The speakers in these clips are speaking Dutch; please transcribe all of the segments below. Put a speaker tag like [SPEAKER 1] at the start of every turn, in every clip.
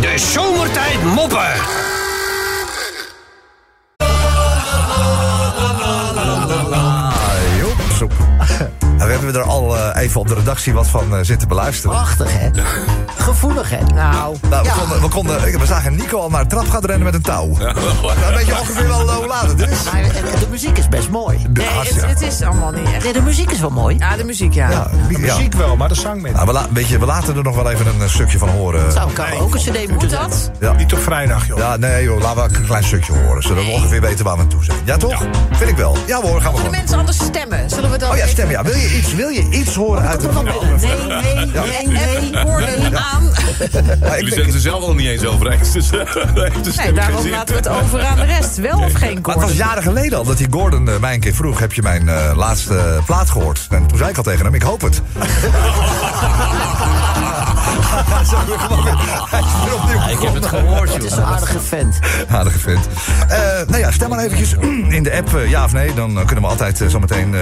[SPEAKER 1] De zomertijd moppen.
[SPEAKER 2] Ah, joh, zoek. Nou, we hebben er al eh, even op de redactie wat van eh, zitten beluisteren.
[SPEAKER 3] Prachtig, hè? Gevoelig, hè? Nou,
[SPEAKER 2] Nou, we,
[SPEAKER 3] Ah, ja.
[SPEAKER 2] konden, we, konden, we zagen Nico al naar de trap gaan rennen met een touw. Dan weet je ongeveer wel eh, hoe laat het is.
[SPEAKER 3] Maar, eh, de muziek is best mooi.
[SPEAKER 4] Nee, het,
[SPEAKER 2] Hartstikke.
[SPEAKER 4] het is allemaal niet echt.
[SPEAKER 3] Nee, de muziek is wel mooi.
[SPEAKER 4] Ja, de muziek, ja.
[SPEAKER 2] Ja,
[SPEAKER 5] De
[SPEAKER 2] ja.
[SPEAKER 5] muziek wel, maar de zang met.
[SPEAKER 2] Nou, we, la- weet je, we laten er nog wel even een eh, stukje van horen.
[SPEAKER 3] Zou ik Nou, ook een cd moeten
[SPEAKER 4] Moet
[SPEAKER 3] zetten.
[SPEAKER 4] dat?
[SPEAKER 5] Niet op vrijdag, joh.
[SPEAKER 2] Ja, nee joh, laten we een klein stukje horen. Zodat we ongeveer weten waar we aan toe zijn. Ja toch? Vind ik wel. Ja hoor, gaan we
[SPEAKER 4] De
[SPEAKER 2] gewoon.
[SPEAKER 4] mensen anders stemmen. Zullen we dat
[SPEAKER 2] Oh ja,
[SPEAKER 4] even-
[SPEAKER 2] stem ja. Wil je iets, wil je iets horen uit de...
[SPEAKER 4] Nee, nee, nee, nee. Woorden aan.
[SPEAKER 2] Ja, ik
[SPEAKER 6] Jullie
[SPEAKER 2] denk-
[SPEAKER 6] zijn er zelf al niet eens over eens. Dus, eh, daar heeft de stem
[SPEAKER 4] Nee,
[SPEAKER 6] geen
[SPEAKER 4] daarom
[SPEAKER 6] zin.
[SPEAKER 4] laten we het over aan de rest. Wel of geen
[SPEAKER 2] Maar het was
[SPEAKER 4] koord?
[SPEAKER 2] jaren geleden al dat die Gordon eh, mij een keer vroeg... heb je mijn eh, laatste plaat gehoord? En toen zei ik al tegen hem, ik hoop het. Zo, gewoon weer- hij is weer opnieuw begonnen.
[SPEAKER 3] Het is een aardige vent.
[SPEAKER 2] Aardige vent. Eh, nou ja, stem maar eventjes in de app, eh, ja of nee. Dan eh, kunnen we altijd eh, zometeen eh,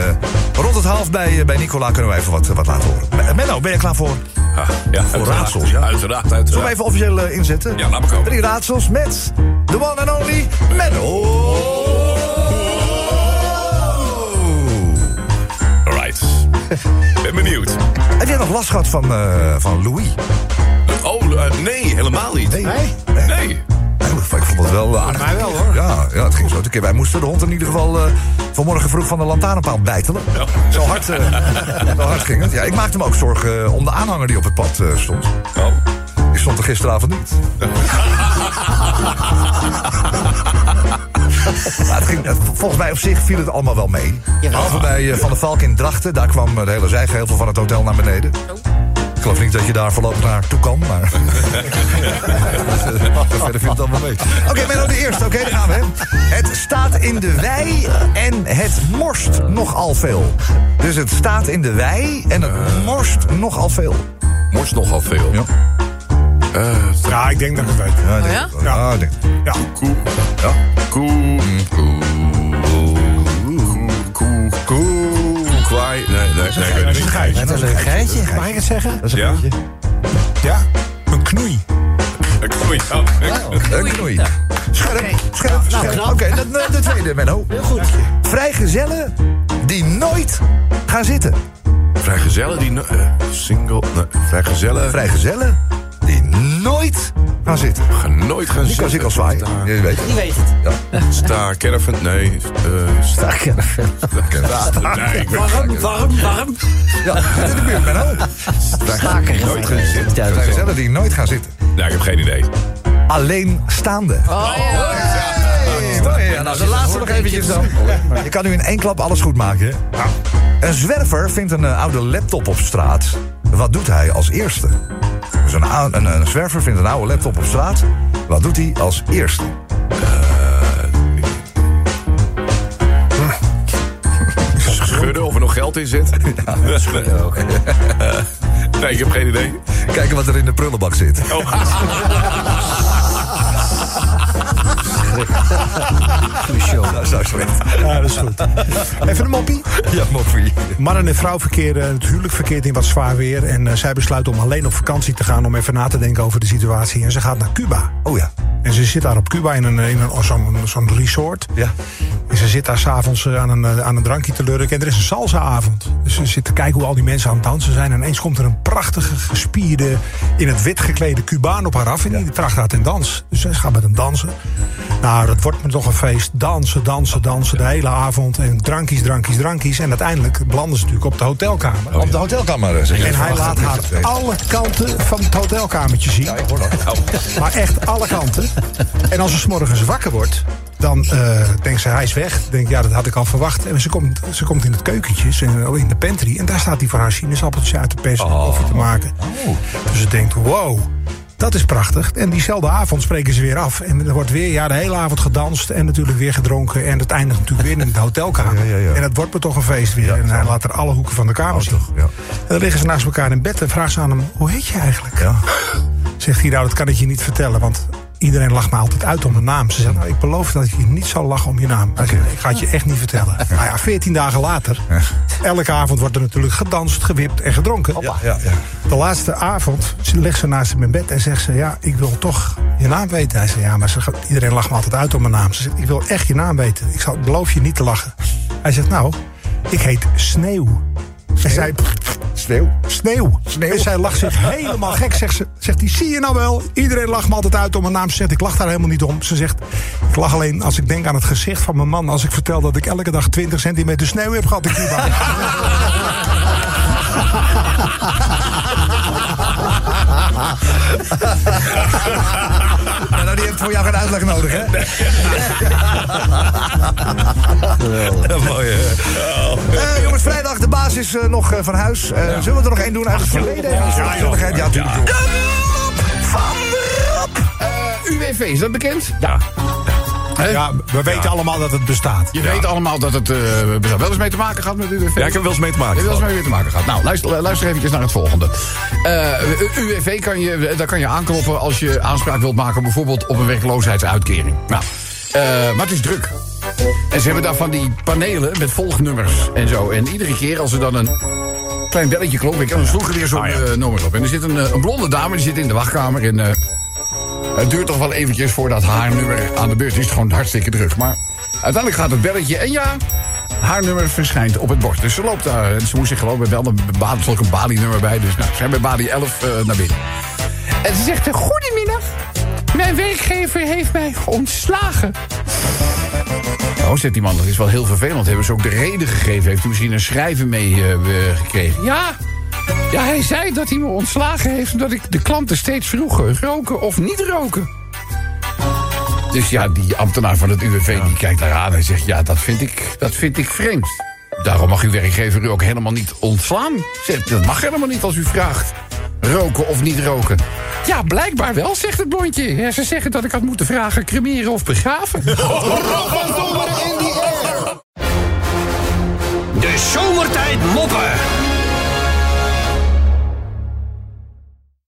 [SPEAKER 2] rond het half bij, eh, bij Nicola... kunnen we even wat, eh, wat laten horen. Me- Menno, ben je klaar voor?
[SPEAKER 6] Ah, ja, uiteraard.
[SPEAKER 2] raadsels, ja.
[SPEAKER 6] Uiteraard,
[SPEAKER 2] Zullen we
[SPEAKER 6] uiteraard.
[SPEAKER 2] even officieel eh, inzetten?
[SPEAKER 6] Ja, laat maar komen.
[SPEAKER 2] Drie raadsels met de one and only Menno.
[SPEAKER 6] Oh. Alright. ben benieuwd.
[SPEAKER 2] Heb jij nog last gehad van, eh, van Louis?
[SPEAKER 6] Oh, eh, nee, helemaal niet.
[SPEAKER 5] Nee?
[SPEAKER 2] Nee.
[SPEAKER 6] Nee.
[SPEAKER 2] Nee, Ik vond het wel eh, aardig.
[SPEAKER 5] Mij wel, hoor.
[SPEAKER 2] Ja, ja, het ging zo. Keer. Wij moesten de hond in ieder geval eh, vanmorgen vroeg van de lantaarnpaal bijtelen. Zo, hard, eh, zo hard ging het. Ja, ik maakte me ook zorgen eh, om de aanhanger die op het pad eh, stond.
[SPEAKER 6] Oh.
[SPEAKER 2] Die stond er gisteravond niet. Maar het ging, het- volgens mij op zich viel het allemaal wel mee.
[SPEAKER 3] Jawel.
[SPEAKER 2] Behalve bij eh, Van der Valk in Drachten. Daar kwam eh, de hele zijgevel van het hotel naar beneden.
[SPEAKER 5] Oh.
[SPEAKER 2] Ik geloof niet dat je daar voorlopig naartoe kan, maar... Verder viel het allemaal mee. Oké, Menno, de eerste. Oké, daar gaan we. hè. Het staat in de wei en het morst nogal veel. Dus het staat in de wei en
[SPEAKER 5] Eh.
[SPEAKER 2] het morst nogal veel.
[SPEAKER 6] Morst nogal veel.
[SPEAKER 2] Ja.
[SPEAKER 6] Eh,
[SPEAKER 5] Ja, ik denk dat ik het weet.
[SPEAKER 2] Ja, ik
[SPEAKER 4] Oh
[SPEAKER 2] denk
[SPEAKER 4] ja?
[SPEAKER 2] het wel. Ja, Ah, ik denk het wel.
[SPEAKER 5] Ja.
[SPEAKER 6] koe.
[SPEAKER 2] Ja.
[SPEAKER 6] Koe. Koe. Koe. Koe. Koe. Kwaai. Nee, nee, nee. ik weet het
[SPEAKER 5] Dat is een
[SPEAKER 6] niet.
[SPEAKER 5] geitje.
[SPEAKER 2] dat is een geitje.
[SPEAKER 5] Mag ik het zeggen?
[SPEAKER 6] Ja?
[SPEAKER 5] Ja. Een knoei.
[SPEAKER 6] Een knoei. Ja.
[SPEAKER 2] Een knoei. Scherp, scherp, scherp. Oké, de, de- de tweede, Menno. Heel goed. Vrijgezellen die nooit gaan zitten.
[SPEAKER 6] Vrijgezellen die... no- eh, single... Nee, vrijgezellen...
[SPEAKER 2] Vrijgezellen die nooit gaan zitten.
[SPEAKER 6] gaan nooit gaan
[SPEAKER 2] Nico zit al zwaai.
[SPEAKER 6] Daar-
[SPEAKER 2] Je weet
[SPEAKER 3] Die weet het.
[SPEAKER 6] Sta caravan... Nee. eh, sta caravan. Nee, ik ben
[SPEAKER 3] Warm, warm, warm.
[SPEAKER 2] Ja, zit in de buurt, Menno.
[SPEAKER 3] Staker.
[SPEAKER 6] nooit gaan zitten.
[SPEAKER 2] Vrijgezellen die nooit gaan zitten.
[SPEAKER 6] Nee, ik heb geen idee.
[SPEAKER 1] Oh,
[SPEAKER 2] Alleen staande.
[SPEAKER 4] Oh, ja.
[SPEAKER 2] Hey, mooi. Ja, nou, de laatste nog eventjes dan. Nou, Je kan nu in één klap alles goed maken. hè? Een zwerver vindt een eh, oude laptop op straat. Wat doet hij als eerste? Dus een, ou- een, een zwerver vindt een oude laptop op straat. Wat doet hij als eerste?
[SPEAKER 6] Schudden of er nog geld in zit. Nee, ik heb geen idee.
[SPEAKER 2] Kijken wat er in de prullenbak zit. Nou, zo slecht.
[SPEAKER 5] Ja, dat is goed. Even een moppie.
[SPEAKER 2] Ja, moffie.
[SPEAKER 5] Mannen en vrouw verkeren, het huwelijk verkeert in wat zwaar weer. En eh, zij besluit om alleen op vakantie te gaan om even na te denken over de situatie. En ze gaat naar Cuba.
[SPEAKER 2] Oh ja.
[SPEAKER 5] En ze zit daar op Cuba in, een, in een, zo'n, zo'n resort.
[SPEAKER 2] Ja.
[SPEAKER 5] En ze zit daar s'avonds aan een, eh, aan een drankje te lurken. En er is een salsa-avond. Dus ze zit te kijken hoe al die mensen aan het dansen zijn. En ineens komt er een prachtige, gespierde, in het wit geklede Cubaan op haar af. En die tracht haar ten dans. Dus ze gaat met hem dansen. Nou, dat wordt me toch een feest. Dansen, dansen, dansen de hele avond. En drankjes, drankjes, drankjes. En uiteindelijk belanden ze natuurlijk op de hotelkamer.
[SPEAKER 2] Op de hotelkamer. eh, zit je.
[SPEAKER 5] En hij laat haar alle kanten van het hotelkamertje zien.
[SPEAKER 2] Ja, ik hoor dat.
[SPEAKER 5] Maar echt alle kanten. En als ze 's morgens wakker wordt, dan eh, denkt ze hij is weg. Dan Denk ik, ja, dat had ik al verwacht. En ze komt, ze komt in het keukentje, ze- oh, in de pantry. En daar staat hij voor haar sinaasappeltje uit de pers om
[SPEAKER 2] Oh.
[SPEAKER 5] koffie te maken. Dus ze denkt, wow. Dat is prachtig. En diezelfde avond spreken ze weer af. En er wordt weer ja, de hele avond gedanst. En natuurlijk weer gedronken. En het eindigt natuurlijk weer in de hotelkamer.
[SPEAKER 2] Ja, ja, ja.
[SPEAKER 5] En het wordt me toch een feest weer. en hij laat er alle hoeken van de kamer zien.
[SPEAKER 2] toch, ja.
[SPEAKER 5] En dan liggen ze naast elkaar in bed. En vraagt ze aan hem: Hoe heet je eigenlijk?
[SPEAKER 2] Ja.
[SPEAKER 5] Zegt hij, nou, dat kan ik je niet vertellen, want iedereen lacht me altijd uit om mijn naam. Ze zei, nou, ik beloof dat ik je niet zal lachen om je naam. Hij zei, ik ga het je echt niet vertellen. Nou ja, veertien dagen later. Elke avond wordt er natuurlijk gedanst, gewipt en gedronken.
[SPEAKER 2] ja, ja.
[SPEAKER 5] De laatste avond ze- legt ze naast hem in bed en zegt ze... ja, ik wil toch je naam weten. Hij zegt, ja, maar ze gaat- iedereen lacht me altijd uit om mijn naam. Ze zegt, ik wil echt je naam weten. Ik zal, beloof je niet te lachen. Hij zegt, nou, ik heet Sneeuw. En zij, "Pff,
[SPEAKER 2] Sneeuw.
[SPEAKER 5] sneeuw. En zij lacht zich helemaal gek. Zegt, ze, zegt die, zie je nou wel? Iedereen lacht me altijd uit om mijn naam. Ze zegt, ik lach daar helemaal niet om. Ze zegt, ik lach alleen als ik denk aan het gezicht van mijn man... als ik vertel dat ik elke dag 20 centimeter sneeuw heb gehad in Cuba.
[SPEAKER 2] Nou, nou, die heeft voor jou geen uitleg nodig, hè? Mooi,
[SPEAKER 5] Oh.
[SPEAKER 2] hè? Eh, jongens, vrijdag, de baas is eh, nog eh, van huis. Eh, Zullen we er nog één doen uit het verleden? Ja, ja, ja, natuurlijk. joh.
[SPEAKER 1] UWV, is dat bekend?
[SPEAKER 6] Ja.
[SPEAKER 5] Ja, we weten allemaal dat het bestaat.
[SPEAKER 1] Je weet allemaal dat het eh, we hebben wel eens mee te maken gehad met UWV.
[SPEAKER 6] Ja, ik heb er wel eens mee te maken.
[SPEAKER 1] Heb je wel eens
[SPEAKER 6] gehad.
[SPEAKER 1] mee te maken gehad? Nou, luister, luister eventjes naar het volgende. Eh, UWV kan je, daar kan je aankloppen als je aanspraak wilt maken... bijvoorbeeld op een werkloosheidsuitkering. Nou, eh, maar het is druk. En ze hebben daar van die panelen met volgnummers en zo. En iedere keer als er dan een klein belletje klonk... ik- dan sloeg er weer zo'n eh, nummer op. En er zit een, eh, een blonde dame, die zit in de wachtkamer... En, eh, het duurt toch wel eventjes voordat haar nummer aan de beurt is. Het is gewoon hartstikke druk. Maar uiteindelijk gaat het belletje. En ja, haar nummer verschijnt op het bord. Dus ze loopt daar. En Ze moest zich geloof ik wel een, ba- er stond ook een Bali-nummer bij. Dus nou, ze hebben Bali 11 eh, naar binnen. En ze zegt, goedemiddag. Mijn werkgever heeft mij ontslagen. Nou, zegt die man, dat is wel heel vervelend. Hebben ze ook de reden gegeven? Heeft u misschien een schrijven mee eh, eh, gekregen? Ja, ja, hij zei dat hij me ontslagen heeft... omdat ik de klanten steeds vroeg roken of niet roken. Dus ja, die ambtenaar van het UWV die kijkt daar aan en zegt... ja, dat vind, ik, dat vind ik vreemd. Daarom mag uw werkgever u ook helemaal niet ontslaan. Zegt, dat mag helemaal niet als u vraagt roken of niet roken. Ja, blijkbaar wel, zegt het blondje. Ja, ze zeggen dat ik had moeten vragen cremeren of begraven.
[SPEAKER 7] De zomertijd moppen.